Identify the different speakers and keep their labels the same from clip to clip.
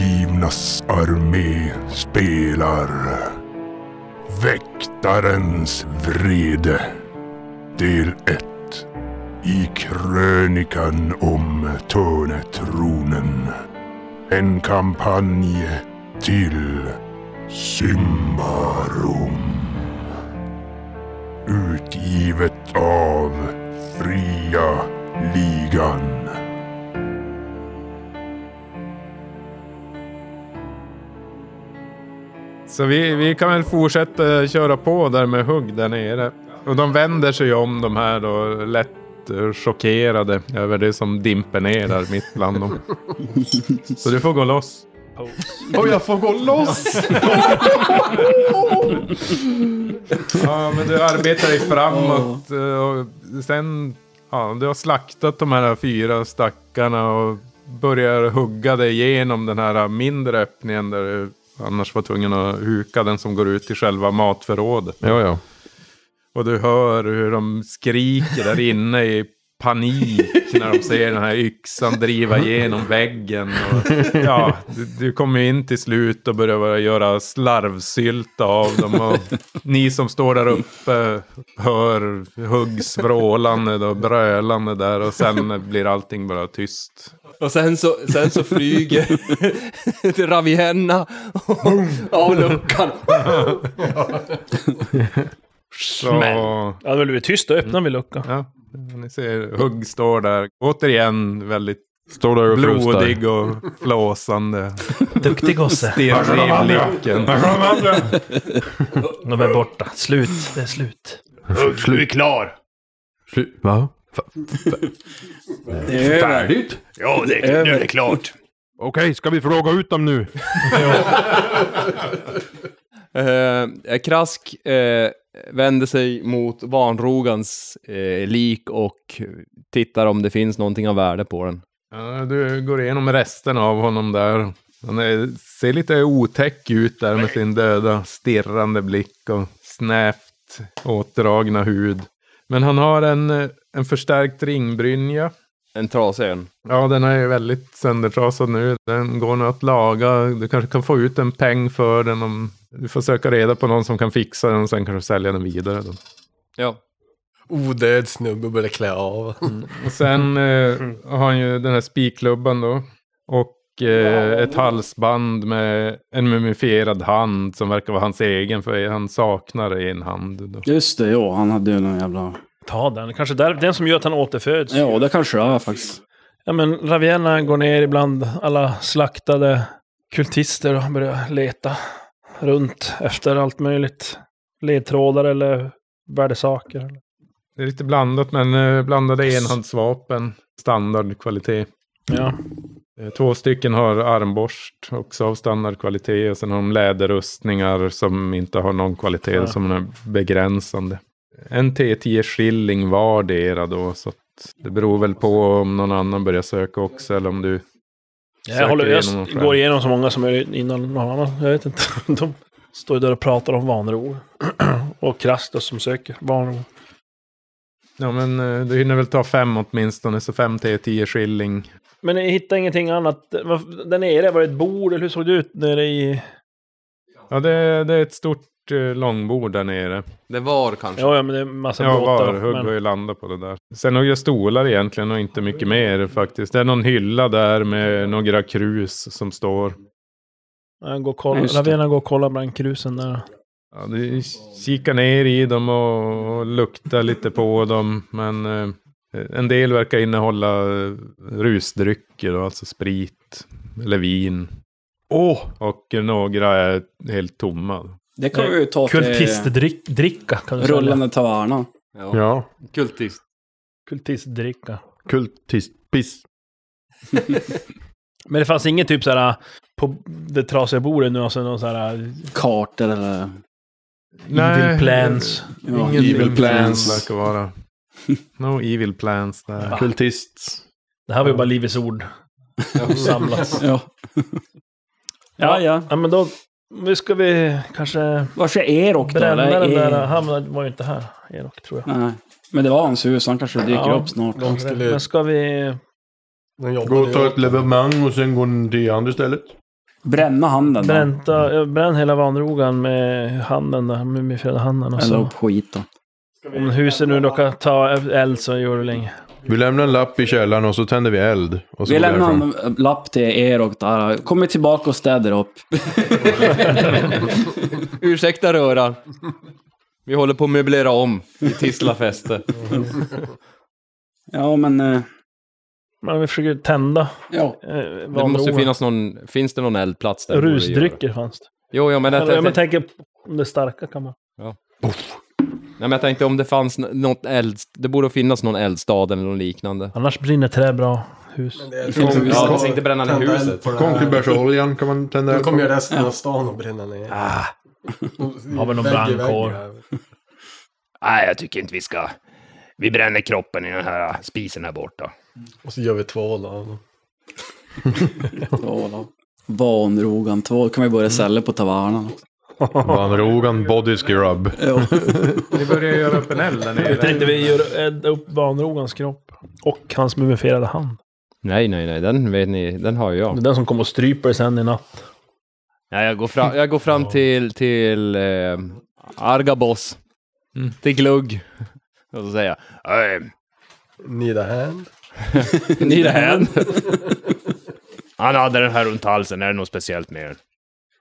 Speaker 1: Mördarnas armé spelar Väktarens vrede Del 1 I krönikan om Törnetronen En kampanj till Symbarum Utgivet av Fria Ligan
Speaker 2: Så vi, vi kan väl fortsätta köra på där med hugg där nere. Och de vänder sig om de här då lätt eh, chockerade över det som dimper ner där mitt bland dem. Så du får gå loss.
Speaker 3: Och jag får gå loss!
Speaker 2: Ja, men du arbetar dig framåt. eh, Och sen, ja, du har slaktat de här fyra stackarna och börjar hugga dig igenom den här mindre öppningen där du annars var tvungen att huka den som går ut i själva matförrådet.
Speaker 3: Ja, ja.
Speaker 2: Och du hör hur de skriker där inne i panik när de ser den här yxan driva igenom väggen. Och, ja, du, du kommer ju in till slut och börjar bara göra slarvsylta av dem. Och ni som står där uppe hör huggs vrålande och brölande där och sen blir allting bara tyst.
Speaker 4: Och sen så, sen så flyger till Ravienna av luckan.
Speaker 2: Så,
Speaker 5: Ja, men du är tyst, då
Speaker 2: Mm.
Speaker 5: öppnar vi luckan.
Speaker 2: ja, ni ser hugg står där. Återigen väldigt
Speaker 3: Står där och frustar.
Speaker 2: blodig och flåsande.
Speaker 5: Duktig gosse.
Speaker 2: Stirrar i blicken.
Speaker 5: De är borta. Slut. Det är slut.
Speaker 6: Du är klar.
Speaker 3: Fly- Va?
Speaker 7: Det är över.
Speaker 3: Färdigt?
Speaker 6: Ja, det är, nu är det klart.
Speaker 3: Okej, ska vi fråga ut dem nu?
Speaker 4: Eh, Krask eh, vänder sig mot vanrogans eh, lik och tittar om det finns någonting av värde på den.
Speaker 2: Ja, du går igenom resten av honom där. Han är, ser lite otäck ut där med sin döda stirrande blick och snävt åtdragna hud. Men han har en, eh, en förstärkt ringbrynja.
Speaker 4: En trasig en.
Speaker 2: Ja, den är ju väldigt söndertrasad nu. Den går nog att laga. Du kanske kan få ut en peng för den om du får söka reda på någon som kan fixa den och sen kanske sälja den vidare. Då.
Speaker 4: Ja.
Speaker 8: Odöd snubbe och börjar klä av.
Speaker 2: Och sen eh, har han ju den här spikklubban då. Och eh, ett halsband med en mumifierad hand som verkar vara hans egen för han saknar en hand. Då.
Speaker 7: Just det, ja. Han hade ju någon jävla...
Speaker 5: Ta den. Kanske där, den som gör att han återföds. Ja.
Speaker 7: Ja, det kanske det är faktiskt.
Speaker 5: men Ravienna går ner ibland alla slaktade kultister och börjar leta runt efter allt möjligt. Ledtrådar eller värdesaker. eller-
Speaker 2: Det är lite blandat men eh, blandade enhandsvapen. Standardkvalitet.
Speaker 5: Ja.
Speaker 2: Eh, Två stycken har armborst också av standardkvalitet. Och sen har de läderrustningar som inte har någon kvalitet
Speaker 5: Ja.
Speaker 2: som är begränsande. En T10 skilling vardera då. Så att det beror väl på om någon annan börjar söka också. Eller om du
Speaker 5: Jag, håller,
Speaker 2: igenom
Speaker 5: jag
Speaker 2: dem själv.
Speaker 5: går igenom så många som möjligt innan någon annan. Jag vet inte. De står ju där och pratar om vanror. och Krask då som söker vanror.
Speaker 2: Ja men eh, du hinner väl ta fem åtminstone. Så fem T10 skilling.
Speaker 5: Men ni hittar ingenting annat? Vad- Där nere, var det ett bord eller hur såg det ut nere i...
Speaker 2: Ja det, det är ett stort eh, långbord där nere.
Speaker 4: Det var kanske.
Speaker 5: Ja, ja men det är en massa
Speaker 2: Ja,
Speaker 5: båtar.
Speaker 2: varhugg har
Speaker 5: men...
Speaker 2: ju landat på det där. Sen några stolar egentligen och inte mycket mer faktiskt. Det är någon hylla där med några krus som står.
Speaker 5: Jag går och kollar.
Speaker 7: Just det.
Speaker 5: Lavena går och kollar bland krusen där.
Speaker 2: Ja, du kikar ner i dem och, och luktar lite på dem. Men eh, en del verkar innehålla eh, rusdrycker, då, alltså sprit eller vin.
Speaker 3: Åh!
Speaker 2: Och några är helt tomma.
Speaker 7: Det kan vi ju ta till
Speaker 5: Kultistdricka kan du säga.
Speaker 7: rullande taverna.
Speaker 4: Ja.
Speaker 3: Ja.
Speaker 4: Kultist.
Speaker 5: Kultistdricka.
Speaker 3: Kultist. Piss.
Speaker 5: Men det fanns inget typ såhär på det trasiga bordet nu, alltså någon såhär
Speaker 7: Kartor eller...
Speaker 5: evil plans.
Speaker 7: Ja,
Speaker 2: Ingen
Speaker 3: Evil
Speaker 2: evil
Speaker 3: plans.
Speaker 2: plans verkar vara. No evil plans där.
Speaker 3: Kultists.
Speaker 5: Det här var ju bara Livets Ord. Samlats.
Speaker 7: Ja. ja, ja.
Speaker 5: Ja, men då nu ska vi kanske
Speaker 7: Vars är Erok då?
Speaker 5: bränna
Speaker 7: eller?
Speaker 5: den där.
Speaker 7: Er-
Speaker 5: Han var ju inte här, Enok, tror jag.
Speaker 7: Nej. Men det var hans hus, han kanske dyker
Speaker 5: Ja.
Speaker 7: upp snart.
Speaker 8: De skulle...
Speaker 5: Men ska vi...
Speaker 8: De
Speaker 3: Gå
Speaker 8: jobbade
Speaker 3: och ta ett
Speaker 8: ju...
Speaker 3: levermang och sen går den till andra stället.
Speaker 7: Bränna handen då.
Speaker 5: Bränta, eh, bränn hela vanrogan med handen där, mumifierade handen. Och
Speaker 7: Eller
Speaker 5: så.
Speaker 7: upp skit då.
Speaker 5: Om huset nu råkar ta eld så gör det länge.
Speaker 3: Vi lämnar en lapp i källaren och så tänder vi eld. Och så
Speaker 7: Vi
Speaker 3: går
Speaker 7: lämnar
Speaker 3: därifrån.
Speaker 7: en lapp till er och Tara. Kommer tillbaka och städar upp.
Speaker 4: Ursäkta röran. Vi håller på att möblera om i Tislafäste.
Speaker 7: Ja, men... eh,
Speaker 5: Men vi försöker tända
Speaker 7: Ja.
Speaker 5: eh,
Speaker 4: Det måste ju
Speaker 5: vanrogan.
Speaker 4: finnas någon, finns det någon eldplats där?
Speaker 5: Rusdrycker fanns det.
Speaker 4: Jo, jo men, jag,
Speaker 5: Eller,
Speaker 4: tänkte,
Speaker 5: jag men tänker om det starka kan man.
Speaker 4: nej, men jag tänkte om det fanns n- något eld, det borde finnas någon eldstad eller något liknande.
Speaker 5: Annars brinner trä bra hus.
Speaker 8: Jag
Speaker 7: tror inte vi ska
Speaker 4: tänkte bränna ner huset.
Speaker 3: Konkelbärsoljan kan man tända
Speaker 8: Nu
Speaker 3: eld på.
Speaker 8: kommer jag resten av stan och bränna ner. Ah.
Speaker 5: Har vi någon brandkår?
Speaker 6: Nej, jag tycker inte vi ska... Vi bränner kroppen i den här spisen här borta.
Speaker 8: Och så gör vi tvål av dem.
Speaker 7: Tvål. Vanrogan tvål. kan vi börja sälja på tavernan.
Speaker 3: Van Rogan body scrub.
Speaker 7: Ja.
Speaker 2: Ni börjar göra upp en eld där nere.
Speaker 5: Jag tänkte vi gör elda upp vanrogans kropp. Och hans mumifierade hand.
Speaker 4: Nej, nej, nej, den vet ni, den har jag.
Speaker 5: Det är den som kommer och stryper dig sen i natt.
Speaker 4: Nej, jag går fram, jag går fram till, till eh, Argabos. Till Glugg. Och så säger jag, "Hey,
Speaker 8: Need a hand.
Speaker 4: need a hand.
Speaker 6: Han hade den här runt halsen, är det något speciellt med den?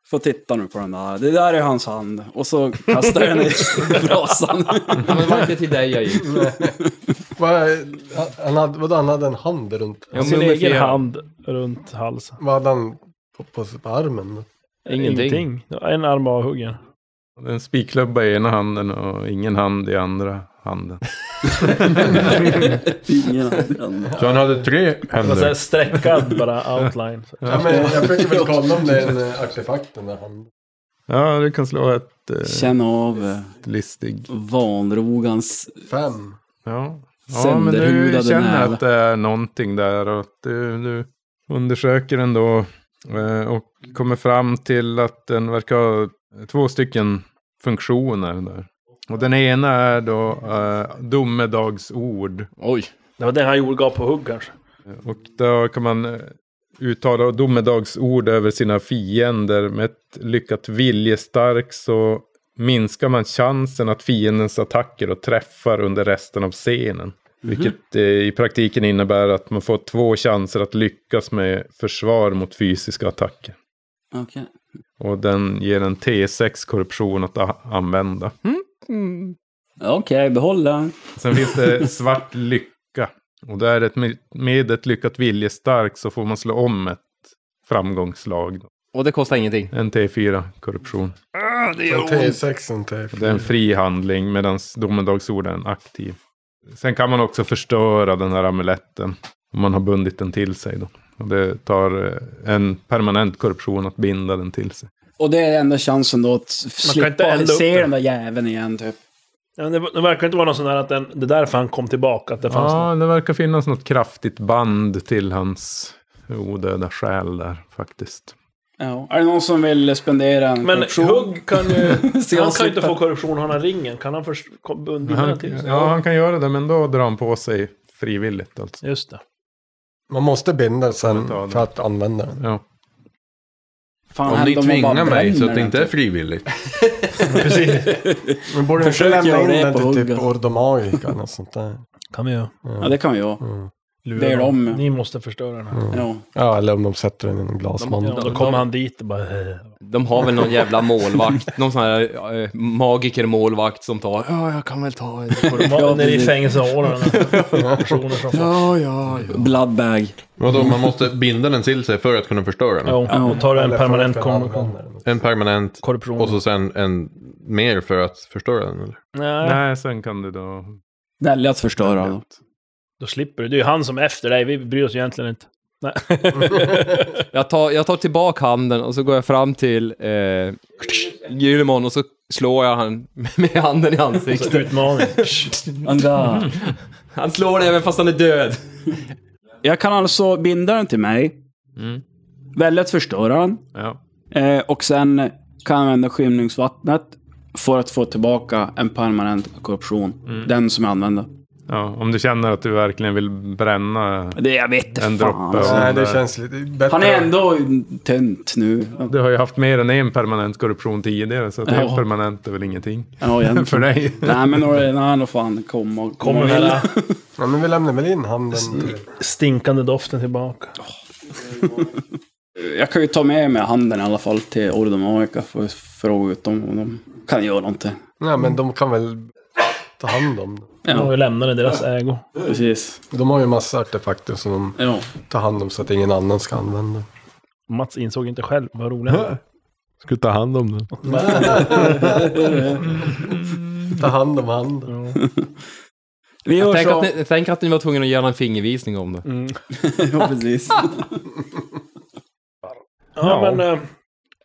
Speaker 7: Få titta nu på den där. Det där är hans hand. Och så kastar jag den i brasan.
Speaker 4: Men det var inte till dig jag gick.
Speaker 8: Vad, han, hade, vadå, han hade en hand runt...
Speaker 4: Jag
Speaker 5: Sin egen
Speaker 4: mumifierar.
Speaker 5: hand runt halsen.
Speaker 8: Vad hade han på, på, på armen?
Speaker 4: Ingenting.
Speaker 5: Det var En arm avhuggen.
Speaker 2: En spikklubba i ena handen och ingen hand i andra handen.
Speaker 7: Ingen hand.
Speaker 3: Så han hade tre
Speaker 5: Det var så här
Speaker 3: händer.
Speaker 5: streckad Alltså, bara outline. Så.
Speaker 8: Ja, men jag försöker väl kolla om det är en eh, artefakt den där handen.
Speaker 2: Ja, du kan slå ett eh,
Speaker 7: Känn av eh,
Speaker 2: listig.
Speaker 7: vanrogans...
Speaker 8: Fem.
Speaker 2: Ja. ja, men du
Speaker 7: Sönderhudade
Speaker 2: känner
Speaker 7: näve.
Speaker 2: att det är någonting där och att du, du undersöker ändå eh, och kommer fram till att den verkar ha två stycken funktioner där. Och den ena är då eh, domedagsord.
Speaker 4: Oj.
Speaker 5: Det var det han gjorde, gav på hugg kanske.
Speaker 2: Och då kan man eh, uttala domedagsord över sina fiender. Med ett lyckat viljestark så minskar man chansen att fiendens attacker och träffar under resten av scenen. Vilket eh, i praktiken innebär att man får två chanser att lyckas med försvar mot fysiska attacker.
Speaker 7: Okej.
Speaker 2: Och den ger en T6 korruption att a- använda.
Speaker 7: Okej, behåll den.
Speaker 2: Sen finns det svart lycka. Och där är ett, med- med ett lyckat viljestark så får man slå om ett framgångsslag.
Speaker 4: Och det kostar ingenting.
Speaker 2: En T4, korruption.
Speaker 8: En T6 och en T4.
Speaker 2: Det är en fri handling medan domedagsord är en aktiv. Sen kan man också förstöra den här amuletten. Om man har bundit den till sig då. Och det tar eh, en permanent korruption att binda den till sig.
Speaker 7: Och det är enda chansen då att
Speaker 5: inte
Speaker 7: slippa
Speaker 5: elda upp
Speaker 7: se
Speaker 5: den.
Speaker 7: den där jäveln igen typ.
Speaker 5: Ja, men det, det verkar inte vara någon sån här att den, det är därför han kom tillbaka. Att det fanns något.
Speaker 2: Ja, det verkar finnas något kraftigt band till hans odöda själ där faktiskt.
Speaker 7: Ja. Är det någon som vill spendera en
Speaker 5: Men
Speaker 7: korruption?
Speaker 5: hugg kan ju...
Speaker 7: Se
Speaker 5: han
Speaker 7: oss
Speaker 5: kan ju inte
Speaker 7: slippa.
Speaker 5: få korruption om han har ringen. Kan han först kom- binda
Speaker 2: Han,
Speaker 5: den till sig?
Speaker 2: ja, han kan göra det men då drar han på sig frivilligt alltså.
Speaker 5: Just det.
Speaker 8: Man måste binda sen
Speaker 2: Ta den.
Speaker 8: för att använda den.
Speaker 2: Ja.
Speaker 7: Fan,
Speaker 9: Om
Speaker 7: hände
Speaker 9: ni
Speaker 7: man bara
Speaker 9: tvingar mig så
Speaker 7: bränner
Speaker 9: att det
Speaker 7: den,
Speaker 9: inte är
Speaker 7: typ.
Speaker 9: frivilligt.
Speaker 8: Men borde vi inte
Speaker 7: Försök
Speaker 8: lämna
Speaker 7: göra
Speaker 8: in
Speaker 7: det
Speaker 8: den
Speaker 7: på
Speaker 8: till typ
Speaker 7: huggen.
Speaker 8: Ordo Magica eller något sånt där?
Speaker 5: Kan vi ju.
Speaker 7: Ja, det kan vi göra.
Speaker 8: Mm.
Speaker 5: Lura
Speaker 7: Det är
Speaker 5: dem.
Speaker 7: de.
Speaker 5: Ni måste förstöra den här.
Speaker 7: Ja.
Speaker 8: Ja, eller om de sätter den i en
Speaker 5: Ja,
Speaker 8: glasmandel.
Speaker 5: då kommer han dit och bara... "Eh."
Speaker 4: De har väl någon jävla målvakt, någon sån här eh, magiker-målvakt som tar, ja, jag kan väl ta en
Speaker 5: De var
Speaker 7: Ja,
Speaker 5: nere i
Speaker 7: precis.
Speaker 5: fängelseåren. Personer som... får-
Speaker 7: Ja, ja, ja. Bloodbag.
Speaker 3: Vadå, man måste binda den till sig för att kunna förstöra den?
Speaker 5: Ja, och tar du en
Speaker 8: Eller
Speaker 5: permanent
Speaker 8: för att kunna
Speaker 5: kom-
Speaker 8: använda den.
Speaker 3: En permanent
Speaker 5: korruption.
Speaker 3: och så sen en mer för att förstöra den eller?
Speaker 5: Nej.
Speaker 2: Nej, sen kan du då...
Speaker 7: Välja att förstöra. då.
Speaker 5: Då slipper du. Det är ju han som är efter dig. Vi bryr oss egentligen inte. Nej.
Speaker 4: Jag tar, jag tar tillbaka handen och så går jag fram till eh, Gyllemon och så slår jag han med handen i ansiktet.
Speaker 5: Utmaning.
Speaker 7: Andra.
Speaker 4: Han slår dig även fast han är död.
Speaker 7: Jag kan alltså binda den till mig. Välja att förstöra den.
Speaker 2: Ja.
Speaker 7: Eh, och sen kan jag använda skymningsvattnet för att få tillbaka en permanent korruption. Den som jag använder.
Speaker 2: Ja, om du känner att du verkligen vill bränna.
Speaker 7: Det jag vet inte
Speaker 2: En
Speaker 7: fan.
Speaker 2: droppe
Speaker 7: alltså.
Speaker 2: av-
Speaker 8: Nej, det känns lite bättre.
Speaker 7: Han är ändå tönt nu.
Speaker 2: Du har ju haft mer än en permanent korruption tidigare, så att
Speaker 7: Ja.
Speaker 2: en permanent är väl ingenting
Speaker 7: Ja, egentligen.
Speaker 2: för dig.
Speaker 7: Nej, men några- nej, nog fan kom och kom
Speaker 5: Kommer
Speaker 7: och
Speaker 5: väl
Speaker 7: vill.
Speaker 5: den
Speaker 8: Ja, men vi lämnar väl in handen till...
Speaker 5: stinkande doften tillbaka.
Speaker 7: Jag kan ju ta med mig handen i alla fall till Ordomaika för att fråga ut dem om de kan göra någonting.
Speaker 8: Nej, men de kan väl ta hand om det.
Speaker 5: Ja. De har ju lämnat den i deras ägo.
Speaker 7: Precis.
Speaker 8: De har ju massa artefakter som de
Speaker 7: Ja.
Speaker 8: tar hand om så att ingen annan ska använda.
Speaker 5: Mats insåg inte själv vad roligt han var.
Speaker 9: Ska ta hand om den.
Speaker 8: Ta hand om handen.
Speaker 7: Vi gör
Speaker 4: Tänk
Speaker 7: så.
Speaker 4: att, ni, tänk att ni var tvungna att ge honom en fingervisning om det.
Speaker 5: Mm.
Speaker 7: ja, precis.
Speaker 5: Ja, men eh,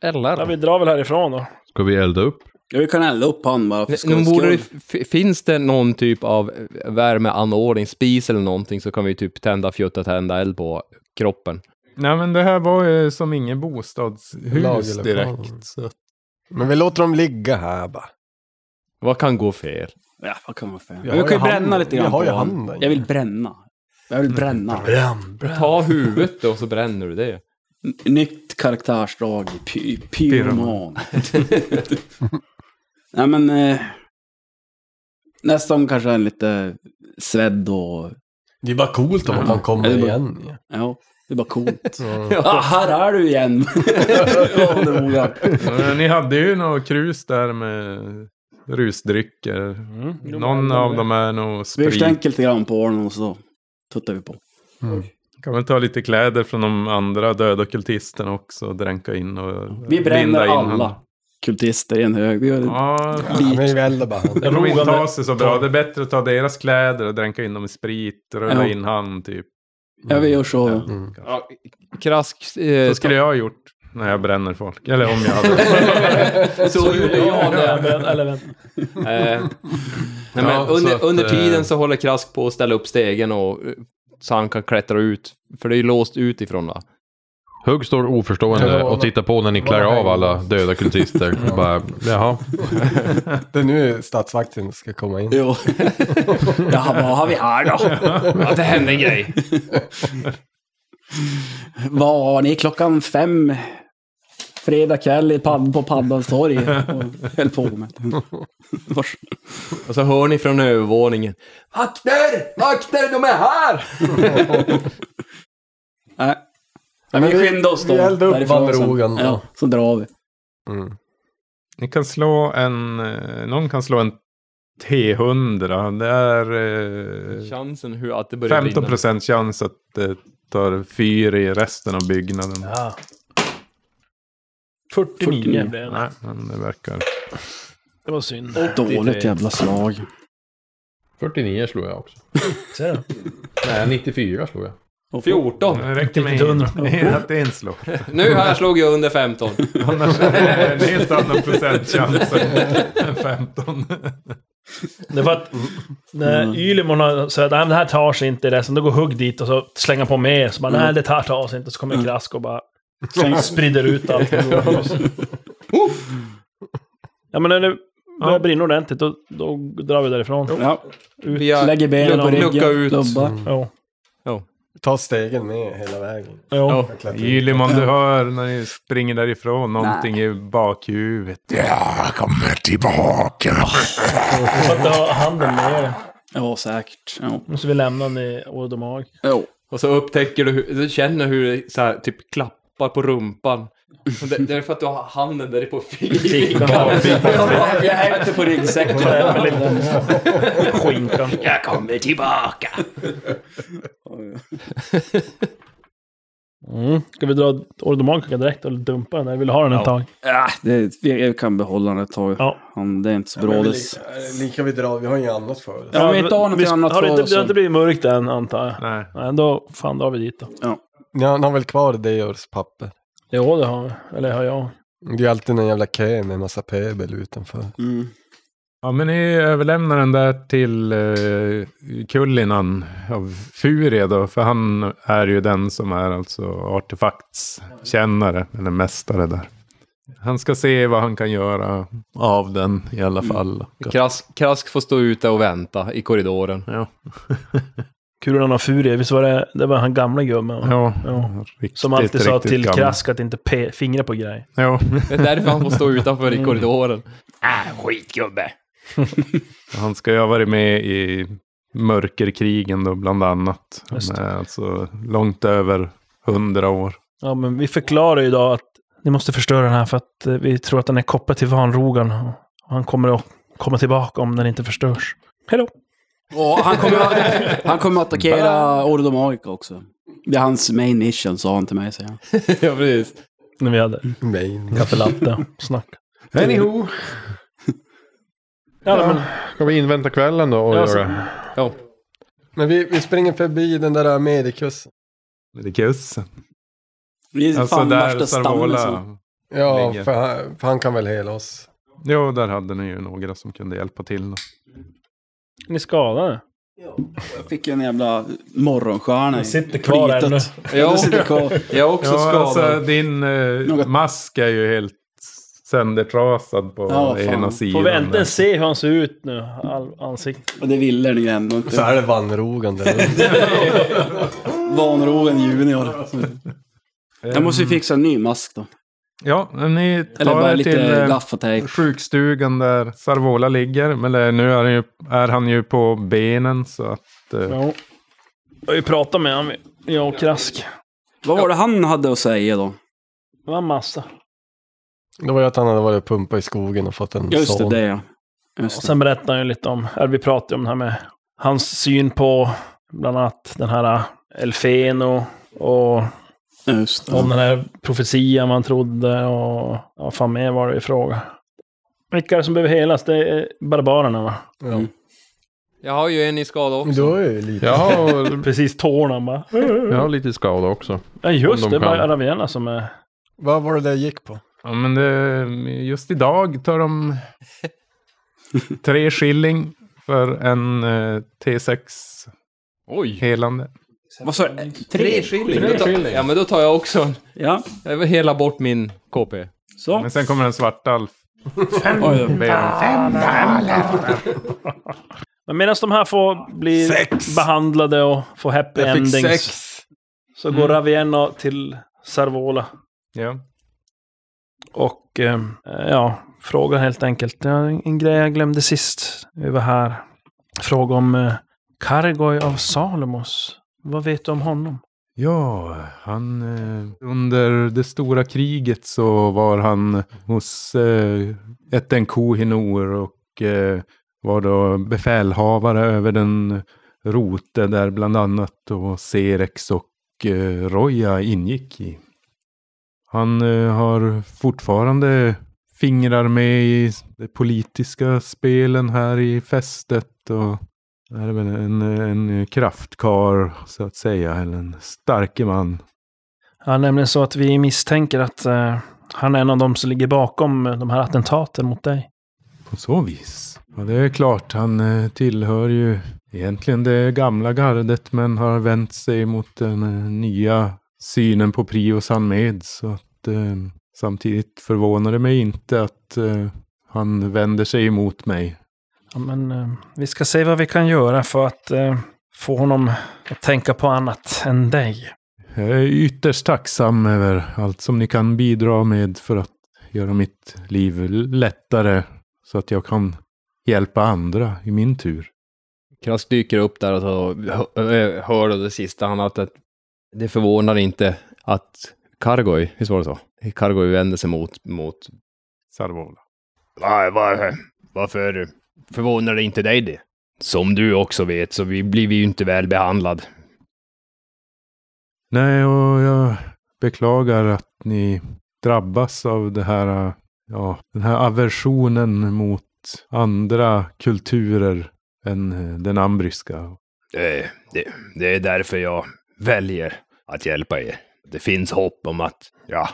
Speaker 5: ja,
Speaker 4: Eller?
Speaker 5: vi drar väl härifrån då.
Speaker 3: Ska vi elda upp?
Speaker 7: Ja, vi kan elda upp han bara för
Speaker 4: Nu
Speaker 7: skojs
Speaker 4: borde det,
Speaker 7: skull.
Speaker 4: f- finns det någon typ av värmeanordning, spis eller någonting, så kan vi typ tända, fjutta, tända eld på kroppen.
Speaker 2: Nej, men det här var ju som ingen bostadshus
Speaker 8: Lagerlokal.
Speaker 2: direkt. Så. att-
Speaker 8: Men vi låter dem ligga här bara.
Speaker 4: Vad kan gå fel?
Speaker 7: Ja, vad kan man säga?
Speaker 8: Vi
Speaker 7: Men vi
Speaker 8: har
Speaker 7: kan ju
Speaker 8: ju handen.
Speaker 7: bränna lite
Speaker 8: Vi
Speaker 7: grann
Speaker 8: har
Speaker 7: på
Speaker 8: ju
Speaker 7: han.
Speaker 8: handen.
Speaker 7: Jag vill bränna. Jag vill bränna.
Speaker 8: Bränn, bränn.
Speaker 4: Ta huvudet då, och så bränner du det.
Speaker 7: N- Nytt karaktärsdrag. Py pyroman. Nej men... Eh, nästa gång kanske en lite svedd och...
Speaker 8: Det är bara coolt om man kan komma
Speaker 7: Eller bara-
Speaker 8: igen. Ja.
Speaker 7: Ja, det är bara coolt. ah, här är du igen! Ja, det vågar.
Speaker 2: Men Ni hade ju något krus där med rusdrycker. Någon av dem är nog
Speaker 7: Mm. vi
Speaker 2: sprit.
Speaker 7: stänker lite grann på honom och så tuttar vi på.
Speaker 2: Kan väl ta lite kläder från de andra döda kultisterna också och dränka in och
Speaker 7: Vi bränner
Speaker 2: binda in
Speaker 7: alla
Speaker 2: honom.
Speaker 7: kultister i en hög. Vi gör det.
Speaker 2: Ja,
Speaker 8: Ja, men vi eldar bara handen.
Speaker 2: jag tror inte
Speaker 5: Rogande.
Speaker 2: ta sig så bra. Det är bättre att ta deras kläder och dränka in dem i sprit. Rulla
Speaker 7: Ja.
Speaker 2: in han typ.
Speaker 7: Ja, vi gör så. Ja.
Speaker 4: Krask... Eh,
Speaker 2: Så skulle jag ha gjort när jag bränner folk. Eller om jag hade.
Speaker 4: så gjorde jag
Speaker 5: Ja, men- eller vänta.
Speaker 4: Eh, nej, men
Speaker 3: Ja,
Speaker 4: under,
Speaker 3: så att,
Speaker 4: under tiden
Speaker 3: eh,
Speaker 4: så håller Krask på att ställa upp stegen och, eh, så han kan klättra ut. För det är ju låst utifrån va?
Speaker 3: Hugg står oförstående
Speaker 8: Ja,
Speaker 3: och tittar på när ni klär
Speaker 8: vad
Speaker 3: av
Speaker 8: händer?
Speaker 3: alla döda kultister. Bara, jaha.
Speaker 8: Det är nu statsvakten ska komma in.
Speaker 7: Jo. ja, vad har vi här då?
Speaker 6: Att det hände en grej.
Speaker 7: Var ni klockan fem fredag kväll i pad- på Paddans torg och höll på med det? Vars-
Speaker 4: Och så hör ni från övervåningen. Vakter! Vakter, de är här!
Speaker 7: Nej.
Speaker 8: Men
Speaker 7: vi skyndar oss då.
Speaker 8: Vi eldar upp
Speaker 7: därifrån sen.
Speaker 8: vallrogan.
Speaker 7: Ja, så drar vi.
Speaker 8: Mm.
Speaker 2: Ni kan slå en... eh, Någon kan slå en T100. Det är... Eh,
Speaker 4: Chansen hur att det börjar
Speaker 2: 15
Speaker 4: brinna.
Speaker 2: procent chans att det tar fyr i resten av byggnaden.
Speaker 5: Ja. 49,
Speaker 7: 49.
Speaker 5: blev det.
Speaker 2: Nej, men det verkar...
Speaker 5: Det var synd.
Speaker 7: Dåligt jävla slag.
Speaker 3: 49 slog jag också.
Speaker 5: Ser du?
Speaker 3: Nej, 94 slog jag.
Speaker 4: 14!
Speaker 2: Det räcker med
Speaker 5: Inte hundra.
Speaker 2: en- att det är en slå.
Speaker 4: Nu här slog jag under 15.
Speaker 2: Annars är det en helt annan procentchans än- än 15.
Speaker 5: Det var att när Ylimon har sagt att "Nej, men det här tar sig inte i resten, då går Hugg dit och så slänger på mer. Så bara, nej det här tar sig inte. Så kommer Krask och bara sprider ut allt. ja men när det börjar brinna ordentligt, då, då drar vi därifrån.
Speaker 7: Ja,
Speaker 5: Ut.
Speaker 4: Vi har...
Speaker 7: lägger benen på
Speaker 4: Lucka
Speaker 7: ryggen.
Speaker 4: ut.
Speaker 7: Lubba.
Speaker 5: Ja.
Speaker 8: Ta stegen med hela vägen.
Speaker 5: Ja.
Speaker 8: Jag klättrar ut.
Speaker 2: Ylim, om du hör när ni springer därifrån, någonting i bakhuvudet.
Speaker 1: Jag kommer tillbaka.
Speaker 5: Så att du har handen med er.
Speaker 7: Ja, säkert. Ja.
Speaker 5: Måste vi lämna den i Odomag.
Speaker 7: Jo.
Speaker 4: Och så upptäcker du, hur- du känner hur det så här, typ klappar på rumpan. Och Det, det är för att du har handen där i på fickan.
Speaker 7: Jag hämtar på ryggsäcken.
Speaker 5: Skinkan.
Speaker 6: Jag kommer tillbaka.
Speaker 5: Mm. Ska vi dra Ordomag direkt eller dumpa den där? Vill du ha den ett tag?
Speaker 7: Ja, det, vi jag kan behålla den ett tag.
Speaker 5: Ja.
Speaker 7: Han, det är inte så
Speaker 8: Men vi-
Speaker 7: brådis.
Speaker 8: Lika vi drar, vi har inget annat för oss.
Speaker 7: Ja, vi inte har något
Speaker 5: vi-
Speaker 7: annat
Speaker 5: har det
Speaker 7: för
Speaker 5: inte,
Speaker 7: oss.
Speaker 5: Det har inte blivit mörkt än antar jag.
Speaker 2: Nej.
Speaker 5: Nej, då fan drar vi dit då.
Speaker 8: Ni har, ni har väl kvar Deors papper?
Speaker 5: Jo, det har vi. Eller har jag.
Speaker 8: Det är ju alltid en jävla kö med en massa pöbel utanför.
Speaker 7: Mm.
Speaker 2: Ja, men ni överlämnar den där till eh, Kullinan av Furie då, för han är ju den som är alltså artefaktskännare, eller mästare där. Han ska se vad han kan göra av den i alla
Speaker 5: Mm.
Speaker 2: fall.
Speaker 4: Krask, Krask får stå ute och vänta i korridoren.
Speaker 2: Ja.
Speaker 5: Kulan av Furie, visst var det, det var han gamla gubben? va?
Speaker 2: Ja,
Speaker 5: Ja.
Speaker 2: riktigt,
Speaker 5: Som alltid sa
Speaker 2: riktigt
Speaker 5: till
Speaker 2: gammal.
Speaker 5: Krask att inte pe- fingra på grejer.
Speaker 2: Ja,
Speaker 4: Det är därför han får stå utanför i korridoren.
Speaker 6: Ah, skitgubbe.
Speaker 2: han ska ju ha varit med i mörkerkrigen då bland annat. Han
Speaker 5: Just det.
Speaker 2: är alltså långt över hundra år.
Speaker 5: Ja, men vi förklarar ju idag att ni måste förstöra den här för att eh, vi tror att den är kopplad till vanrogan. Och han kommer att komma tillbaka om den inte förstörs. Hej då!
Speaker 7: Och han kommer, att- han kommer att attackera Ordo Magica också. Det är hans main mission, sa han till mig. säger han.
Speaker 4: ja, precis.
Speaker 5: När vi hade
Speaker 8: Nej.
Speaker 5: kaffelatte och snack.
Speaker 3: Anywho,
Speaker 5: Ja, men,
Speaker 3: ska vi invänta kvällen då och
Speaker 5: Ja, så-
Speaker 3: göra?
Speaker 8: Men vi, vi springer förbi den där medikus.
Speaker 2: Det är kussen.
Speaker 7: Vi är
Speaker 2: Alltså
Speaker 7: fan
Speaker 2: där
Speaker 7: värsta stammen. som-
Speaker 2: Sarvola.
Speaker 8: Ja,
Speaker 2: Ligger.
Speaker 8: för han, för han kan väl hela oss.
Speaker 2: Jo, där hade ni ju några som kunde hjälpa till. Då.
Speaker 5: ni är skadade.
Speaker 7: Jag fick en jävla morgonstjärna i
Speaker 5: sitter kvar
Speaker 7: plitet.
Speaker 5: ännu.
Speaker 7: Ja, det sitter kvar.
Speaker 4: Jag är också
Speaker 2: Ja,
Speaker 4: skadad.
Speaker 2: alltså din eh,
Speaker 7: Något-
Speaker 2: mask är ju helt söndertrasad på
Speaker 7: Ja, fan.
Speaker 2: ena
Speaker 7: Får
Speaker 2: sidan.
Speaker 5: Får vi äntligen
Speaker 2: där.
Speaker 5: se hur han ser ut nu, all, ansiktet.
Speaker 7: Och det ville den ju ändå
Speaker 8: Så
Speaker 7: inte.
Speaker 8: är det vannrogan där.
Speaker 7: Vanrogen junior. Jag måste ju fixa en ny mask då.
Speaker 2: Ja, men ni
Speaker 7: Eller
Speaker 2: tar
Speaker 7: bara
Speaker 2: er till
Speaker 7: lite
Speaker 2: eh,
Speaker 7: gaffatejp.
Speaker 2: sjukstugan där Sarvola ligger. Men eh, nu är han, ju, är han ju på benen så att... Eh,
Speaker 5: Ja. Jag har ju pratat med honom, jag och Krask.
Speaker 7: Vad var det han hade att säga då?
Speaker 5: Det var en massa.
Speaker 8: Det var ju att han hade varit och pumpat i skogen och fått en
Speaker 7: Just det,
Speaker 8: son.
Speaker 7: det ja.
Speaker 5: Och
Speaker 7: Just det.
Speaker 5: sen berättade han ju lite om, eller vi pratade ju om det här med hans syn på bland annat den här Elfen och, och
Speaker 7: Just
Speaker 5: om
Speaker 7: det.
Speaker 5: den här profetian man trodde och ja, fan mer var det i fråga. Vilka är det som behöver helas? Det är barbarerna va?
Speaker 8: Ja.
Speaker 4: Jag har ju en i skada också.
Speaker 8: Du har ju lite.
Speaker 3: Jag har,
Speaker 5: Precis tårna bara.
Speaker 3: jag har lite skada också.
Speaker 5: Ja just
Speaker 3: Om
Speaker 5: det,
Speaker 3: de
Speaker 5: det var
Speaker 3: kan.
Speaker 5: Aravienna som är...
Speaker 8: Vad var det där jag gick på?
Speaker 2: Ja, men det, just idag tar de tre skilling för en eh, T6
Speaker 4: Oj.
Speaker 2: helande.
Speaker 7: Vad sa du? Tre?
Speaker 4: skilling. Då tar- Ja, men då tar jag också en.
Speaker 7: Ja.
Speaker 4: Jag vill hela bort min KP.
Speaker 7: Så.
Speaker 5: Mm.
Speaker 2: Men sen kommer en svartalf.
Speaker 7: Oj, då.
Speaker 5: Men medan de här får bli
Speaker 1: Sex.
Speaker 5: behandlade och få happy
Speaker 8: Jag fick
Speaker 5: endings
Speaker 8: sex. Mm.
Speaker 5: så går Ravienna till Sarvola.
Speaker 2: Ja.
Speaker 5: Och eh, ja, frågar helt enkelt. Ja, en, en grej jag glömde sist vi var här. Fråga om eh, Kargoj av Salomos. Vad vet du om honom?
Speaker 2: Ja, han... Eh, under det stora kriget så var han hos eh, Etenko Hinor och eh, var då befälhavare över den rote där bland annat då Serex och eh, Roja ingick i. Han eh, har fortfarande fingrar med i de politiska spelen här i fästet och det här är väl en, en kraftkar så att säga, eller en starke man.
Speaker 5: Ja, nämligen så att vi misstänker att eh, han är en av dem som ligger bakom eh, de här attentaten mot dig.
Speaker 2: På så vis. Ja, det är klart, han eh, tillhör ju egentligen det gamla gardet men har vänt sig mot den eh, nya synen på Prios han med. Så att, eh, samtidigt förvånar det mig inte att eh, han vänder sig emot mig.
Speaker 5: Ja, men eh, vi ska se vad vi kan göra för att eh, få honom att tänka på annat än dig.
Speaker 2: Jag är ytterst tacksam över allt som ni kan bidra med för att göra mitt liv lättare så att jag kan hjälpa andra i min tur.
Speaker 4: Krask dyker upp där och så hör- hör då det sista han att att det förvånar inte att Kargoj, visst var det så? Kargoj vänder sig mot, mot...
Speaker 2: Sarvola.
Speaker 6: Var, var, varför förvånar det inte dig det? Som du också vet så vi blir vi ju inte väl behandlad.
Speaker 2: Nej, och jag beklagar att ni drabbas av det här, ja, den här aversionen mot andra kulturer än eh, den ambriska.
Speaker 6: Eh, Det, det är därför jag väljer att hjälpa er. Det finns hopp om att, ja,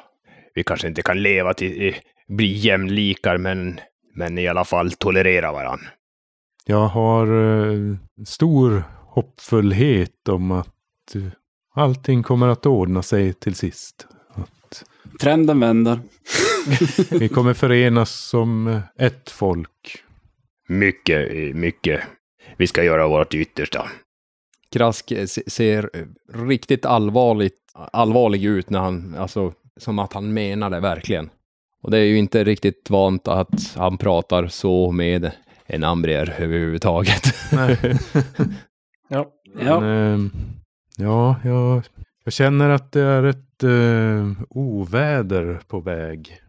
Speaker 6: vi kanske inte kan leva till, eh, bli jämlikar men, men i alla fall tolerera varann.
Speaker 2: Jag har eh, stor hoppfullhet om att eh, allting kommer att ordna sig till sist. Att
Speaker 7: Trenden vänder.
Speaker 2: Vi kommer förenas som eh, ett folk.
Speaker 6: Mycket, eh, mycket. Vi ska göra vårt yttersta.
Speaker 4: Krask eh, se- ser eh, riktigt allvarligt, allvarlig ut när han, alltså som att han menar det verkligen. Och det är ju inte riktigt vant att han pratar så med en ambrier överhuvudtaget.
Speaker 5: Ja.
Speaker 7: Ja.
Speaker 2: Men, eh, ja, jag, jag känner att det är ett eh, oväder på väg.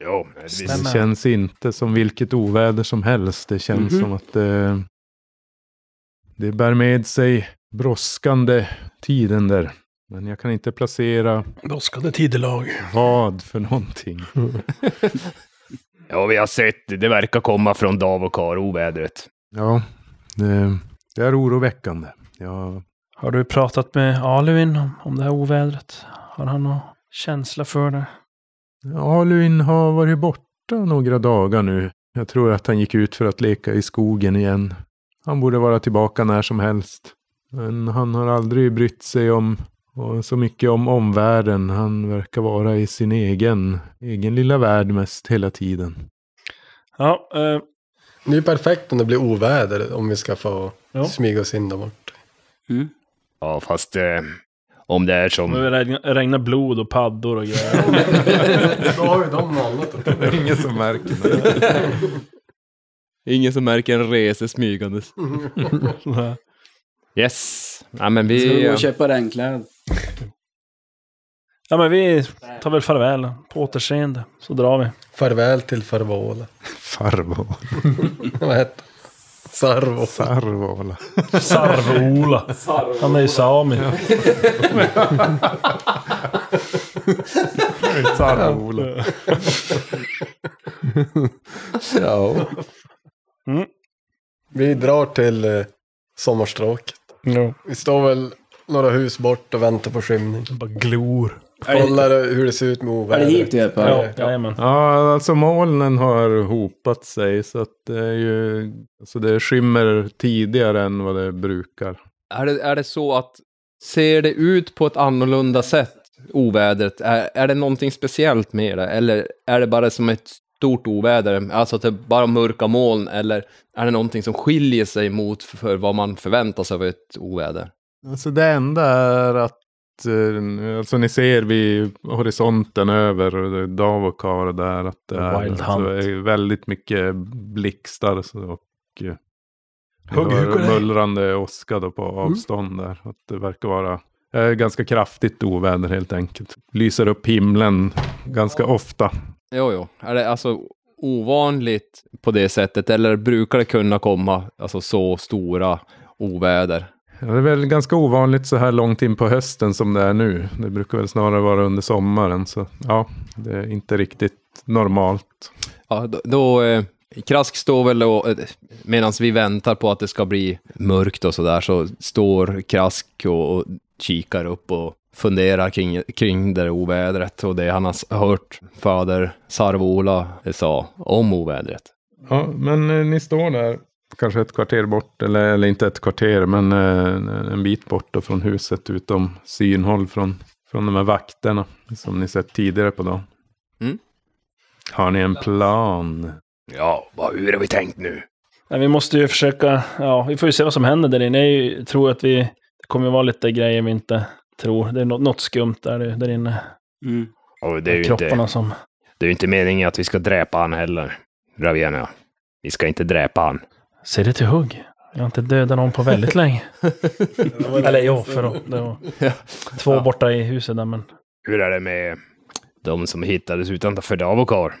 Speaker 6: Jo,
Speaker 5: Stämmer.
Speaker 2: Det känns inte som vilket oväder som helst. Det känns
Speaker 7: Mhm.
Speaker 2: som att eh, det bär med sig brådskande tiden där. Men jag kan inte placera
Speaker 5: Brådskande tidelag.
Speaker 2: vad för någonting.
Speaker 6: ja, vi har sett det. Det verkar komma från Davokar, ovädret.
Speaker 2: Ja, det, det är oroväckande. Jag,
Speaker 5: Har du pratat med Aluvin om, om det här ovädret? Har han någon känsla för det?
Speaker 2: Alun har varit borta några dagar nu. Jag tror att han gick ut för att leka i skogen igen. Han borde vara tillbaka när som helst. Men han har aldrig brytt sig om och så mycket om omvärlden. Han verkar vara i sin egen, egen lilla värld mest hela tiden.
Speaker 5: Ja, eh,
Speaker 8: Det är ju perfekt om det blir oväder om vi ska få
Speaker 5: Ja.
Speaker 8: smyga oss in där bort.
Speaker 6: Ja, fast eh, om det är som...
Speaker 5: det regnar, regnar blod och paddor och grejer.
Speaker 8: Då har ju de något att
Speaker 2: Det är ingen som märker det.
Speaker 4: Ingen som märker en rese smygandes. Yes! Ja, men vi...
Speaker 7: Ska vi gå och köpa regnkläder?
Speaker 5: ja, men vi tar väl farväl. På återseende. Så drar vi.
Speaker 8: Farväl till Farvola.
Speaker 2: Farvo.
Speaker 8: Vad hette han? Sarvo.
Speaker 2: Sarvola.
Speaker 5: Sarvola. Han är ju sami.
Speaker 2: Sarvola.
Speaker 3: Ja.
Speaker 8: Vi drar till eh, sommarstråket.
Speaker 5: Ja.
Speaker 8: Vi står väl några hus bort och väntar på skymning.
Speaker 5: Bara glor.
Speaker 8: Kollar hur det ser ut med
Speaker 7: Är det hit
Speaker 8: ovädret.
Speaker 7: du är på?
Speaker 5: Ja, jajamän.
Speaker 2: Ja, alltså molnen har hopat sig så att det är ju, alltså det skymmer tidigare än vad det brukar.
Speaker 4: Är det, är det så att, ser det ut på ett annorlunda sätt, ovädret? Är, är det någonting speciellt med det? Eller är det bara som ett stort oväder, alltså att det är bara mörka moln? Eller är det någonting som skiljer sig mot för vad man förväntar sig av ett oväder?
Speaker 2: Alltså det enda är att, eh, alltså ni ser vid horisonten över Davokar där att det är,
Speaker 5: Wild
Speaker 2: alltså,
Speaker 5: Hunt.
Speaker 2: är väldigt mycket blixtar så- och eh, det
Speaker 5: Hugg, hugg och
Speaker 2: var
Speaker 5: det. Mm.
Speaker 2: mullrande åska då på avstånd där. Att det verkar vara eh, ganska kraftigt oväder helt enkelt. Lyser upp himlen ganska ofta.
Speaker 4: Jo, jo. Är det alltså ovanligt på det sättet? Eller brukar det kunna komma alltså, så stora oväder?
Speaker 2: Ja, det är väl ganska ovanligt så här långt in på hösten som det är nu. Det brukar väl snarare vara under sommaren. Så ja, det är inte riktigt normalt.
Speaker 4: Ja, då, då eh, Krask står väl och, eh, medan vi väntar på att det ska bli mörkt och sådär, så står Krask och, och kikar upp och funderar kring, kring det där ovädret och det han har s- hört fader Sarvola eh, sa om ovädret.
Speaker 2: Ja, men eh, ni står där. Kanske ett kvarter bort, eller, eller inte ett kvarter, men eh, en bit bort då från huset utom synhåll från, från de här vakterna som ni sett tidigare på dagen.
Speaker 4: Mm.
Speaker 2: Har ni en plan?
Speaker 6: Ja, vad, hur har vi tänkt nu?
Speaker 5: Nej, vi måste ju försöka, ja, vi får ju se vad som händer där inne. Jag är ju- tror att vi, det kommer ju vara lite grejer vi inte tror. Det är något, något skumt där, där inne.
Speaker 7: Mm.
Speaker 6: Och det är ju
Speaker 5: Kropparna
Speaker 6: inte,
Speaker 5: som...
Speaker 6: det är ju inte meningen att vi ska dräpa han heller. Ravena. Vi ska inte dräpa han.
Speaker 5: Se det till hugg. Jag har inte dödat någon på väldigt länge. Eller ja, för då- det var två borta i huset där, men
Speaker 6: Hur är det med de som hittades utanför Davokar?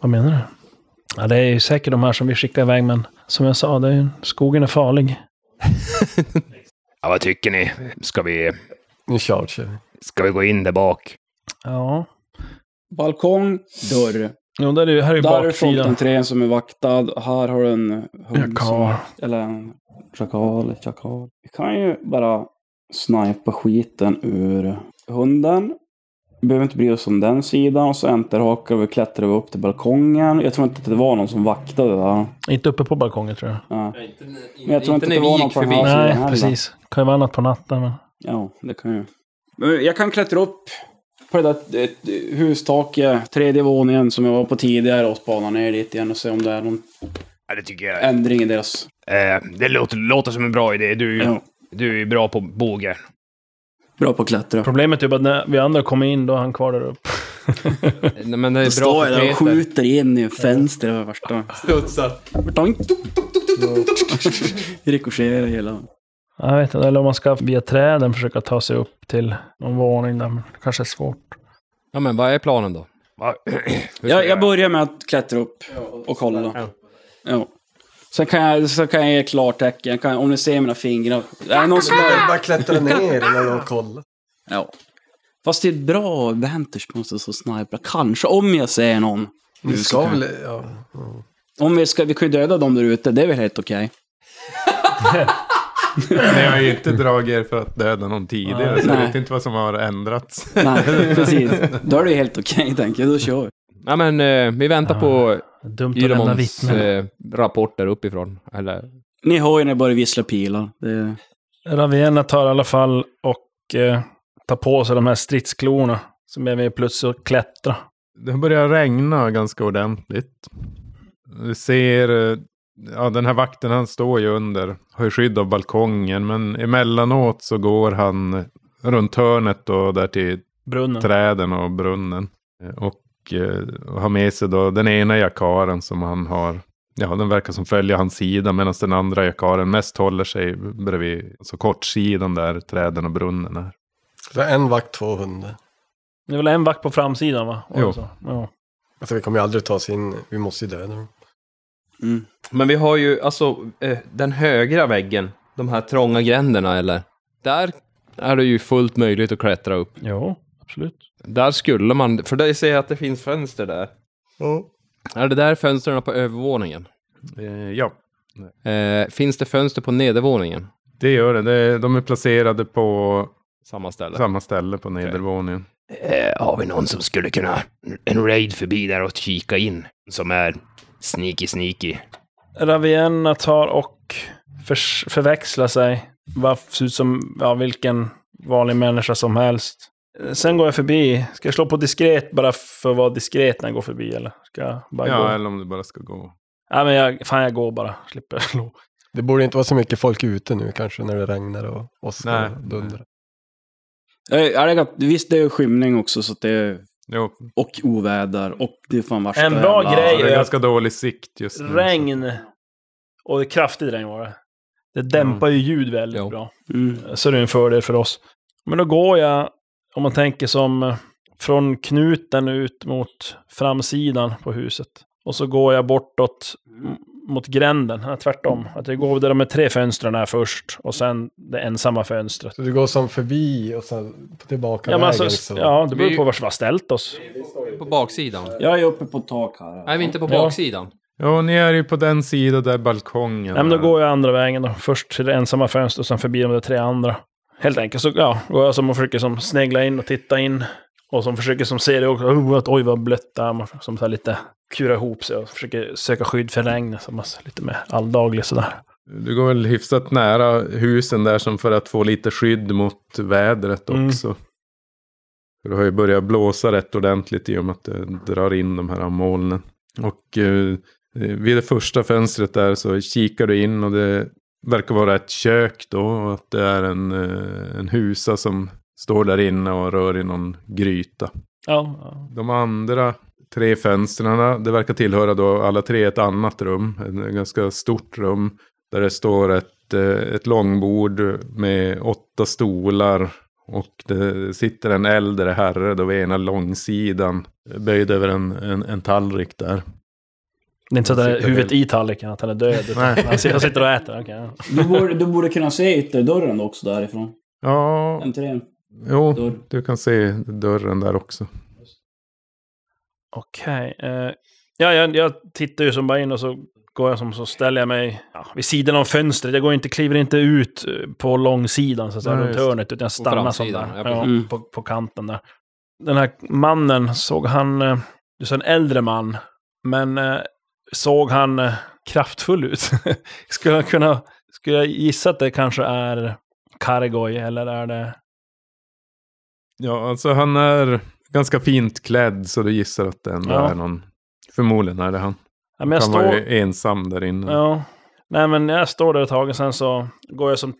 Speaker 5: vad menar du? Ja, det är ju säkert de här som vi skickar iväg, men som jag sa, det är, ju- skogen är farlig.
Speaker 6: Ja, vad tycker ni? Ska vi,
Speaker 8: Nu chargear vi.
Speaker 6: ska vi gå in där bak?
Speaker 5: Ja.
Speaker 7: Balkong, dörr.
Speaker 5: Jo, där är, ju- här är ju
Speaker 7: Där har du
Speaker 5: baksidan.
Speaker 7: frontentrén som är vaktad. Här har du en hund
Speaker 5: Jackal.
Speaker 7: som, Eller en schakal, schakal. Vi kan ju bara snipa skiten ur hunden. Vi behöver inte bry oss om den sidan. Och så enterhakar vi och klättrar vi upp till balkongen. Jag tror inte att det var någon som vaktade där.
Speaker 5: Inte uppe på balkongen tror jag.
Speaker 7: Ja.
Speaker 4: Inte,
Speaker 7: Men jag tror inte det var någon på den här sidan
Speaker 5: Nej,
Speaker 7: heller.
Speaker 5: precis. Kan ju vara annat på natten, men...
Speaker 7: Ja, det kan jag. Men jag kan klättra upp på det där eh, hustaket, tredje våningen som jag var på tidigare och spana ner dit igen och se om det är någon
Speaker 6: Ja, det tycker jag.
Speaker 7: ändring i deras...
Speaker 6: Eh, det låter, låter som en bra idé. Du,
Speaker 7: Ja,
Speaker 6: du är ju bra på bågen.
Speaker 7: bra på att klättra.
Speaker 5: Problemet är bara att när vi andra kommer in, då är han kvar där uppe.
Speaker 4: Nej, men det är
Speaker 7: Då
Speaker 4: bra
Speaker 7: står jag
Speaker 4: för
Speaker 7: där och
Speaker 4: Peter.
Speaker 7: skjuter in i fönstret. och Värsta... Studsar. Rikoscherar hela...
Speaker 5: Jag vet inte, eller om man ska via träden försöka ta sig upp till någon våning där, men det kanske är svårt.
Speaker 4: Ja, men vad är planen då?
Speaker 6: Va?
Speaker 7: Jag, jag börjar med att klättra upp och kolla. Ja. Sen kan jag, så kan jag ge klartecken. Jag kan- Om ni ser mina fingrar. Är det någon som
Speaker 8: Bara, bara klättra ner eller någon kolla.
Speaker 7: Ja. Fast det är ett bra vantage på något sätt som sniprar. Kanske om jag ser någon.
Speaker 8: Du
Speaker 7: så
Speaker 8: ska
Speaker 7: kan-
Speaker 8: väl... Ja.
Speaker 7: Om vi ska, vi kan ju döda dem där ute. Det är väl helt okej.
Speaker 2: Ni har ju inte dragit er för att döda någon tidigare, så jag
Speaker 7: Nej.
Speaker 2: vet inte vad som har ändrats.
Speaker 7: Nej, precis. Då är det ju helt okej, tänker jag. Då kör vi.
Speaker 4: Ja, men eh, vi väntar på
Speaker 5: Dumt att lämna
Speaker 4: Ylemons
Speaker 5: vittnen.
Speaker 4: eh, rapporter uppifrån. Eller,
Speaker 7: Ni hör ju när jag börjar vissla pilar. Det,
Speaker 5: Ravienna tar i alla fall och eh, tar på sig de här stridsklorna som är med plus att klättra.
Speaker 2: Det börjar regna ganska ordentligt. Du ser, eh, ja den här vakten han står ju under, har ju skydd av balkongen, men emellanåt så går han runt hörnet och där till
Speaker 5: Brunnen.
Speaker 2: träden och brunnen. Eh, Och, eh, och har med sig då den ena jakaren som han har. Ja, den verkar som följer hans sida medan den andra jakaren mest håller sig bredvid så kortsidan där träden och brunnen är.
Speaker 8: Så det är en vakt, två hundar.
Speaker 5: Det är väl en vakt på framsidan va? Och
Speaker 2: Jo.
Speaker 5: så. Ja.
Speaker 8: Alltså vi kommer ju aldrig ta oss in. Vi måste ju döda dem.
Speaker 7: mm.
Speaker 4: Men vi har ju alltså eh, den högra väggen, de här trånga gränderna eller? Där är det ju fullt möjligt att klättra upp.
Speaker 5: Jo, absolut.
Speaker 4: Där skulle man, för det ser jag att det finns fönster där. Är det där fönstren på övervåningen?
Speaker 2: Eh, ja,
Speaker 4: Eh, finns det fönster på nedervåningen?
Speaker 2: det gör det. det. De är placerade på
Speaker 4: Samma ställe.
Speaker 2: samma ställe på nedervåningen.
Speaker 6: Eh, har vi någon som skulle kunna... En raid förbi där och kika in. Som är sneaky sneaky.
Speaker 5: Ravienna tar och förs- förväxlar sig. Vad ser ut som ja, vilken vanlig människa som helst. Eh, Sen går jag förbi. Ska jag slå på diskret bara för att vara diskret när jag går förbi? Eller ska jag bara
Speaker 2: Ja,
Speaker 5: gå?
Speaker 2: eller om det bara ska gå.
Speaker 5: Nej, men jag, fan, jag går bara. Slipper slå.
Speaker 8: Det borde inte vara så mycket folk ute nu kanske när det regnar och åskar
Speaker 2: Nej.
Speaker 8: och dundrar.
Speaker 7: Eh, är det gott? Visst, det är skymning också, så att det är...
Speaker 2: Jo,
Speaker 7: Och oväder. Och det är fan värsta
Speaker 5: En bra
Speaker 7: jävla-
Speaker 5: grej
Speaker 2: det
Speaker 5: Ja.
Speaker 2: är ganska dålig sikt just nu. så-
Speaker 5: Regn. Och det är kraftigt regn var det. Det dämpar ju ljud väldigt
Speaker 4: Jo.
Speaker 5: bra.
Speaker 7: Mm.
Speaker 5: Så det är en fördel för oss. Men då går jag, om man tänker som eh, från knuten ut mot framsidan på huset. Och så går jag bortåt m- mot gränden, ja, tvärtom. Att jag går där de här tre fönstren är först och sen det ensamma fönstret.
Speaker 8: Så du går som förbi och sen på tillbaka
Speaker 5: Ja, men alltså,
Speaker 8: vägen liksom.
Speaker 5: s-
Speaker 8: så...
Speaker 5: ja, det beror
Speaker 4: Vi-
Speaker 5: på vart vi har ställt oss.
Speaker 4: På baksidan?
Speaker 7: Jag är uppe på ett tak här.
Speaker 4: Nej, vi är inte på
Speaker 5: Ja.
Speaker 4: baksidan.
Speaker 2: Ja, ni är ju på den sida där balkongen
Speaker 5: Nej, men då
Speaker 2: är.
Speaker 5: går jag andra vägen då. Först till det ensamma fönstret och sen förbi de där tre andra. Helt enkelt så ja, går jag som och försöker som snegla in och titta in. Och som försöker som se det också. Oh, att, oj vad blött det är. Man får Som så här lite kura ihop sig och försöker söka skydd för regn. Som man, lite mer alldaglig sådär.
Speaker 2: Du går väl hyfsat nära husen där som för att få lite skydd mot vädret
Speaker 5: Mm.
Speaker 2: också. För det har ju börjat blåsa rätt ordentligt i och med att det drar in de här molnen. Och eh, vid det första fönstret där så kikar du in och det verkar vara ett kök då. Och att det är en, eh, en husa som står där inne och rör i någon gryta.
Speaker 5: Ja, ja.
Speaker 2: De andra tre fönstren, det verkar tillhöra då alla tre ett annat rum. Ett ganska stort rum. Där det står ett, eh, ett långbord med åtta stolar. Och det sitter en äldre herre då vid ena långsidan. Böjd över en, en, en tallrik där.
Speaker 5: Det är inte så att det är
Speaker 2: Sitter
Speaker 5: huvudet i tallriken, att han är död. utan
Speaker 2: Nej.
Speaker 5: Han sitter- han sitter och äter. okej, ja.
Speaker 7: Du borde, du borde kunna se ytterdörren också därifrån.
Speaker 2: Ja,
Speaker 7: Entrén.
Speaker 2: jo,
Speaker 7: Dörr.
Speaker 2: du kan se dörren där också.
Speaker 5: Okej. eh, ja, jag, jag tittar ju som bara in och så går jag som så ställer jag mig ja, vid sidan av fönstret. Jag går inte, kliver inte ut eh, på långsidan så att säga,
Speaker 2: Nej,
Speaker 5: runt
Speaker 2: just.
Speaker 5: hörnet utan jag stannar som där.
Speaker 4: framsidan, ja,
Speaker 5: Ja,
Speaker 4: precis.
Speaker 7: Mm.
Speaker 5: på, på kanten där. Den här mannen, såg han... eh, Du sa en äldre man. Men eh, såg han eh, kraftfull ut? skulle, jag kunna, skulle jag gissa att det kanske är Kargoj eller är det...
Speaker 2: Ja, alltså han är ganska fint klädd så du gissar att det ändå
Speaker 5: Ja.
Speaker 2: är någon. Förmodligen är det han.
Speaker 5: Ja, men jag
Speaker 2: han var
Speaker 5: står...
Speaker 2: ju ensam där inne.
Speaker 5: Ja. Nej, men jag står där ett tag och sen så går jag som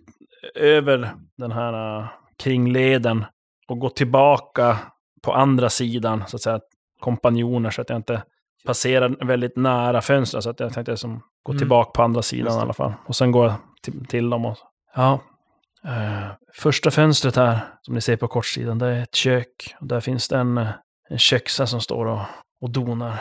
Speaker 5: över den här äh, kringleden och går tillbaka på andra sidan, så att säga, kompanjoner, så att jag inte passerar väldigt nära fönstren. Så att jag tänkte som gå
Speaker 2: Mm.
Speaker 5: tillbaka på andra
Speaker 2: Just
Speaker 5: sidan i
Speaker 2: det.
Speaker 5: alla fall. Och sen går jag till, till dem och... Ja. eh, första fönstret här, som ni ser på kortsidan, det är ett kök. Och där finns det en, eh, en köksa som står och, och donar.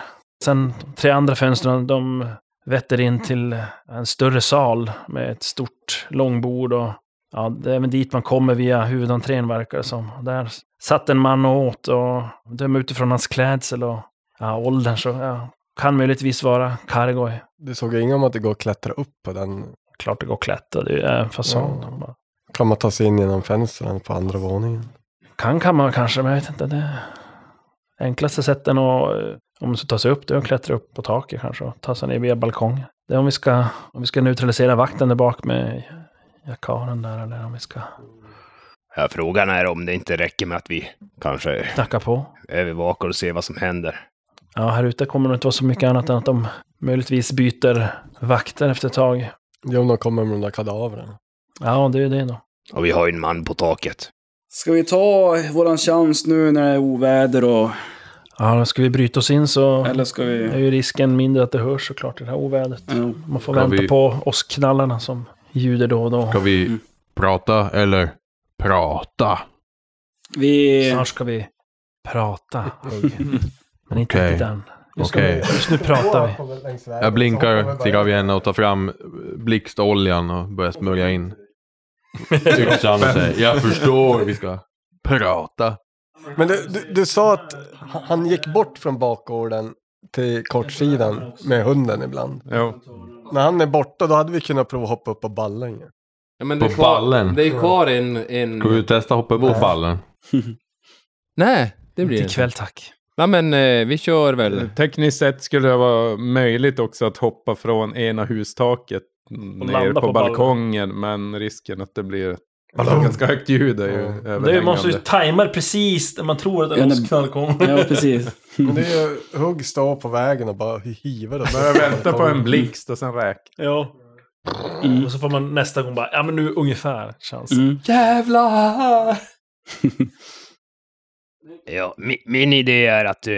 Speaker 5: Sen de tre andra fönstren, de vetter in till en större sal med ett stort långbord och ja, det är även dit man kommer via huvudentrén verkar det som. Där satt en man och åt och döm utifrån hans klädsel och ja, åldern så ja, kan möjligtvis vara Kargoj.
Speaker 8: Du såg inget om att det går att klättra upp på den?
Speaker 5: Klart det går att klättra, det är en fasan.
Speaker 8: Kan man ta sig in genom fönstren på andra våningen?
Speaker 5: Kan kan man kanske, men jag vet inte. Det enklaste sätten att, eh, om man ska ta sig upp, det är att klättra upp på taket kanske och ta sig ner via balkongen. Det är om vi ska, om vi ska neutralisera vakten där bak med jakaren där eller om vi ska
Speaker 6: Ja, frågan är om det inte räcker med att vi kanske
Speaker 5: knacka på.
Speaker 6: övervakar och ser vad som händer.
Speaker 5: Ja, här ute kommer det inte vara så mycket annat än att de möjligtvis byter vakter efter ett tag.
Speaker 8: Det är om de kommer med de där kadavren.
Speaker 5: Ja, det är ju det då.
Speaker 6: Och vi har ju en man på taket.
Speaker 7: Ska vi ta våran chans nu när det är oväder och...
Speaker 5: Ja, då ska vi bryta oss in så
Speaker 7: Eller ska
Speaker 5: är
Speaker 7: vi...
Speaker 5: ju risken mindre att det hörs såklart i det här ovädret.
Speaker 7: Jo.
Speaker 5: Man får
Speaker 3: Ska
Speaker 5: vänta
Speaker 3: vi-
Speaker 5: på åskknallarna som ljuder då och då.
Speaker 3: Ska vi
Speaker 7: Mm.
Speaker 3: prata eller prata?
Speaker 7: Vi...
Speaker 5: Snart ska vi prata, Hugg. Men inte
Speaker 3: Okej.
Speaker 5: riktigt än. Just,
Speaker 3: Okej.
Speaker 5: nu, just nu pratar vi.
Speaker 8: Jag
Speaker 3: Jag blinkar till Gavienna och tar fram blixtoljan och börjar smörja in yxan och säger jag förstår vi ska prata.
Speaker 8: Men du, du, du sa att han han gick bort från bakgården till kortsidan med hunden ibland.
Speaker 2: Jo.
Speaker 8: När han är borta då hade vi kunnat prova att hoppa upp på ballen. ju.
Speaker 4: Ja, men
Speaker 3: På
Speaker 4: det är kvar-
Speaker 3: ballen.
Speaker 4: Det är kvar en... en...
Speaker 3: Ska vi testa hoppa upp på ballen?
Speaker 4: Nej, det blir det
Speaker 5: Till
Speaker 4: inte.
Speaker 5: kväll tack.
Speaker 4: Ja, men eh, vi kör väl.
Speaker 2: Tekniskt sett skulle det vara möjligt också att hoppa från ena hustaket ner
Speaker 5: landa
Speaker 2: på,
Speaker 5: på ballen.
Speaker 2: balkongen. Men risken att det blir ett ganska högt ljud är ju
Speaker 8: Ja.
Speaker 2: överhängande.
Speaker 5: Det måste ju tajma det precis när man tror att
Speaker 7: Ja,
Speaker 5: en
Speaker 7: när-
Speaker 5: åskknall kommer.
Speaker 7: Ja, precis.
Speaker 8: Men det är ju hugg stå på vägen och bara hiva det.
Speaker 2: Börja vänta på en blixt och sen räkna.
Speaker 5: Ja.
Speaker 7: Mm.
Speaker 5: Och så får man nästa gång bara, ja men nu ungefär chans.
Speaker 7: Mm.
Speaker 4: Jävlar!
Speaker 6: Ja, min, min idé är att, eh,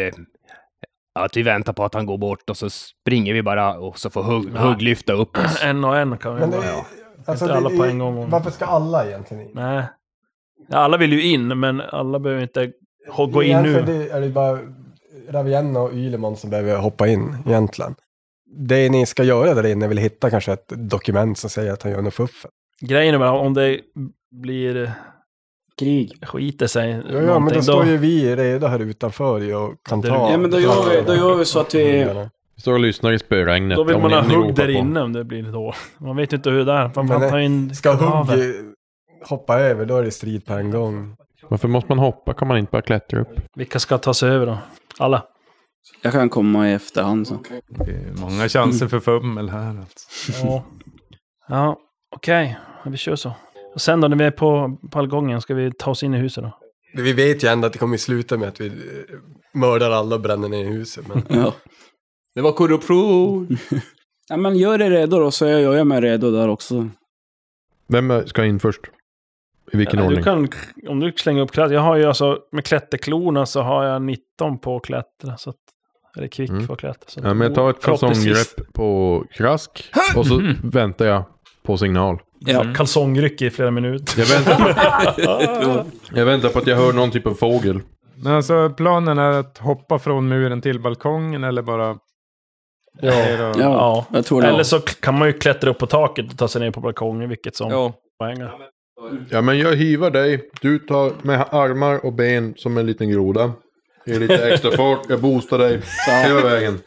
Speaker 6: att vi väntar på att han går bort och så springer vi bara och så får hugg,
Speaker 5: Ja.
Speaker 6: hugg lyfta upp oss.
Speaker 5: Mm. En och en kan vi
Speaker 8: Men
Speaker 5: bara.
Speaker 8: det, alltså,
Speaker 5: Inte alla
Speaker 8: det,
Speaker 5: på en gång.
Speaker 8: Varför ska alla egentligen in?
Speaker 5: Nej. Ja, alla vill ju in, men alla behöver inte ho- gå in
Speaker 8: Egentligen
Speaker 5: nu.
Speaker 8: alltså, Det är det bara Ravienna och Ylemon som behöver hoppa in egentligen. Det ni ska göra där inne är väl hitta kanske ett dokument som säger att han gör något fuffens.
Speaker 5: Grejen är bara om det blir
Speaker 7: Krig.
Speaker 5: skiter sig
Speaker 8: Ja, ja men
Speaker 5: någonting
Speaker 8: då
Speaker 5: då.
Speaker 8: står ju vi redo här utanför ju och kan
Speaker 5: Det-
Speaker 8: ta...
Speaker 7: Ja, men då gör vi, då gör vi så att vi...
Speaker 3: Vi står och lyssnar i spöregnet.
Speaker 5: Då vill
Speaker 3: om
Speaker 5: man
Speaker 3: ni-
Speaker 5: ha
Speaker 3: ni
Speaker 5: hugg
Speaker 3: ropar
Speaker 5: där
Speaker 3: på.
Speaker 5: inne om det blir då. Man vet ju inte hur det är. Man
Speaker 8: Men
Speaker 5: man
Speaker 8: det-
Speaker 5: tar in
Speaker 8: Ska
Speaker 5: kadaver.
Speaker 8: Hugg hoppa över då är det strid på en gång.
Speaker 3: Varför måste man hoppa? Kan man inte bara klättra upp?
Speaker 5: Vilka ska ta sig över då? Alla.
Speaker 7: Jag kan komma i efterhand sen.
Speaker 2: Det är många chanser för fummel här alltså.
Speaker 5: Ja, ja okej. Ja, Vi kör så. Och sen då när vi är på balkongen, ska vi ta oss in i huset då?
Speaker 8: Vi vet ju ändå att det kommer sluta med att vi eh, mördar alla och bränner ner huset. Men
Speaker 7: Ja.
Speaker 4: Det var korruption!
Speaker 7: ja, men gör er redo då, så jag gör jag mig redo där också.
Speaker 3: Vem ska in först? I vilken
Speaker 5: Ja,
Speaker 3: ordning?
Speaker 5: Du kan, om du slänger upp klätt. Jag har ju alltså, med klätterklorna så har jag 19 på att klättra. Så att, eller kvick
Speaker 3: Mm.
Speaker 5: på att klättra. Så
Speaker 3: Ja, men jag tar ett
Speaker 5: Förhoppningsvis-
Speaker 3: kalsonggrepp på Krask och så
Speaker 5: Mm-hmm.
Speaker 3: väntar jag på signal.
Speaker 7: Ja.
Speaker 5: Kalsongryck i flera minuter.
Speaker 3: Jag väntar på, jag väntar på att jag hör någon typ av fågel.
Speaker 2: Men alltså planen är att hoppa från muren till balkongen eller bara... Ner och-
Speaker 7: Ja,
Speaker 5: Ja.
Speaker 7: jag tror det.
Speaker 5: Eller så k- kan man ju klättra upp på taket och ta sig ner på balkongen, vilket som
Speaker 4: Ja.
Speaker 5: poängar.
Speaker 3: Ja men jag hivar dig. Du tar med armar och ben som en liten groda. Ger lite extra fart. Jag boostar dig hela vägen.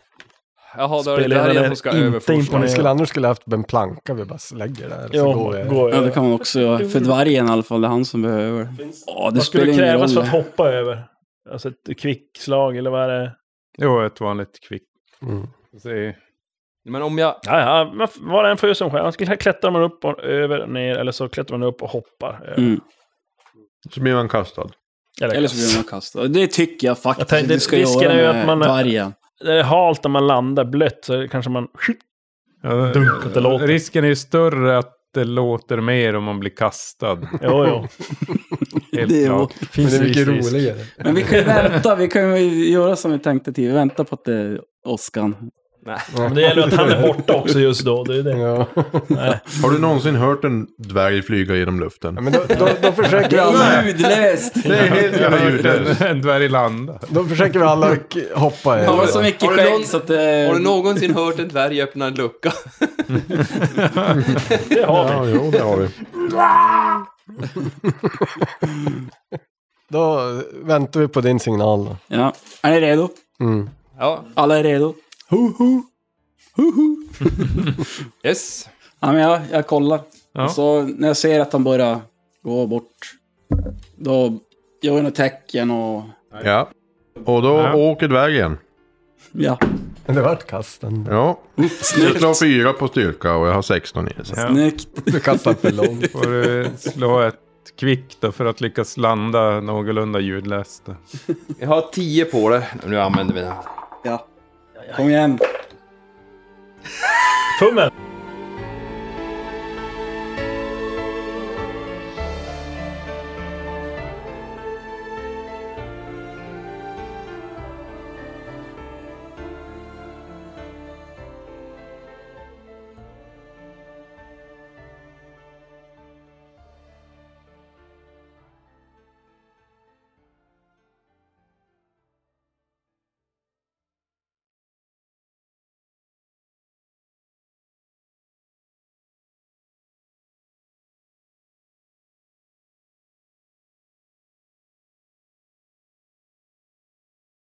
Speaker 4: Jaha, då är det
Speaker 5: Spelledaren
Speaker 4: där
Speaker 5: är
Speaker 4: jag som ska
Speaker 5: inte
Speaker 4: överforska.
Speaker 5: imponerad.
Speaker 8: vi skulle annars skulle haft en planka vi bara lägger där. Så går vi.
Speaker 5: går
Speaker 7: Ja,
Speaker 5: över.
Speaker 7: det kan man också göra. För dvärgen i alla fall, det är han som behöver det. Ja, det
Speaker 5: Vad skulle
Speaker 7: spelar ingen
Speaker 5: krävas för
Speaker 7: roll.
Speaker 5: att hoppa över? Alltså ett kvickslag eller vad är det?
Speaker 2: Jo, ett vanligt kvick.
Speaker 8: Mm.
Speaker 2: Se.
Speaker 4: Men om jag...
Speaker 5: Ja, ja, man f- var och en får göra som själv. Antingen klättrar man upp och över och ner eller så klättrar man upp och hoppar. över.
Speaker 7: Mm.
Speaker 3: Så blir man kastad.
Speaker 5: Eller
Speaker 7: Eller så
Speaker 5: kast.
Speaker 7: blir man kastad. Det tycker jag faktiskt
Speaker 5: Jag tänkte,
Speaker 7: du ska
Speaker 5: risken
Speaker 7: göra
Speaker 5: är ju
Speaker 7: med
Speaker 5: att man-
Speaker 7: vargen.
Speaker 5: Det är halt när man landar blött så kanske man...
Speaker 2: Ja,
Speaker 5: Dunk, att det låter.
Speaker 2: Risken är ju större att det låter mer om man blir kastad.
Speaker 5: Jo, jo.
Speaker 2: Helt
Speaker 7: Det är-
Speaker 2: klart.
Speaker 8: Men det är mycket
Speaker 2: Precis.
Speaker 8: roligare.
Speaker 7: Men vi kan ju vänta, vi kan ju göra som vi tänkte till. Vi väntar på att det är åskan.
Speaker 5: Men det gäller att han är borta också just då. Det är det.
Speaker 8: Ja.
Speaker 3: Har du någonsin hört en dvärg flyga genom luften?
Speaker 8: Ja, men då, då, då, försöker
Speaker 7: Det
Speaker 8: alla,
Speaker 7: är ljudlöst!
Speaker 3: Det är helt
Speaker 2: Jag
Speaker 3: jävla
Speaker 2: har gjort
Speaker 3: ljudlöst.
Speaker 2: en, en dvärg landa.
Speaker 8: då försöker vi alla k- hoppa i.
Speaker 7: Han har så mycket
Speaker 4: Har du någon-
Speaker 7: skägg så att det...
Speaker 4: Har du någonsin hört en dvärg öppna en lucka?
Speaker 5: Det har vi.
Speaker 10: Ja, jo, det har vi.
Speaker 8: Då väntar vi på din signal. Då.
Speaker 7: Ja. Är ni redo?
Speaker 8: Mm.
Speaker 4: Ja,
Speaker 7: Alla är redo? Ho, ho. Ho, ho.
Speaker 4: yes.
Speaker 7: Ja, men jag, jag kollar.
Speaker 2: Ja.
Speaker 7: Så när jag ser att han börjar gå bort, då gör jag något tecken och...
Speaker 3: Ja. Och då
Speaker 2: Ja.
Speaker 3: åker dvärgen.
Speaker 7: Ja,
Speaker 8: Men Det vart kasten.
Speaker 3: Ja. Jag slår fyra på styrka och jag har 16 i det. Så.
Speaker 2: Ja.
Speaker 7: snyggt.
Speaker 8: Du kastade för långt.
Speaker 2: Får du slå ett kvick då för att lyckas landa någorlunda ljudlöst. då.
Speaker 4: Jag har tio på det. Nu använder vi den.
Speaker 7: Kom igen.
Speaker 5: Tummen!